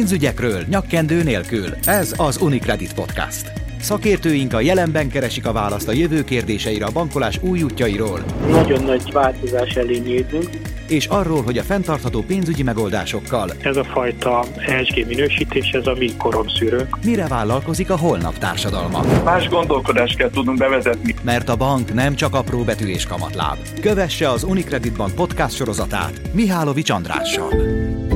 Pénzügyekről nyakkendő nélkül. Ez az Unicredit Podcast. Szakértőink a jelenben keresik a választ a jövő kérdéseire a bankolás új útjairól, Nagyon nagy változás elé nézünk. és arról, hogy a fenntartható pénzügyi megoldásokkal Ez a fajta ESG minősítés, ez a mi koromszűrőnk. mire vállalkozik a holnap társadalma. Más gondolkodást kell tudnunk bevezetni. Mert a bank nem csak apró betű és kamatláb. Kövesse az Unicredit Bank podcast sorozatát Mihálovics Andrással.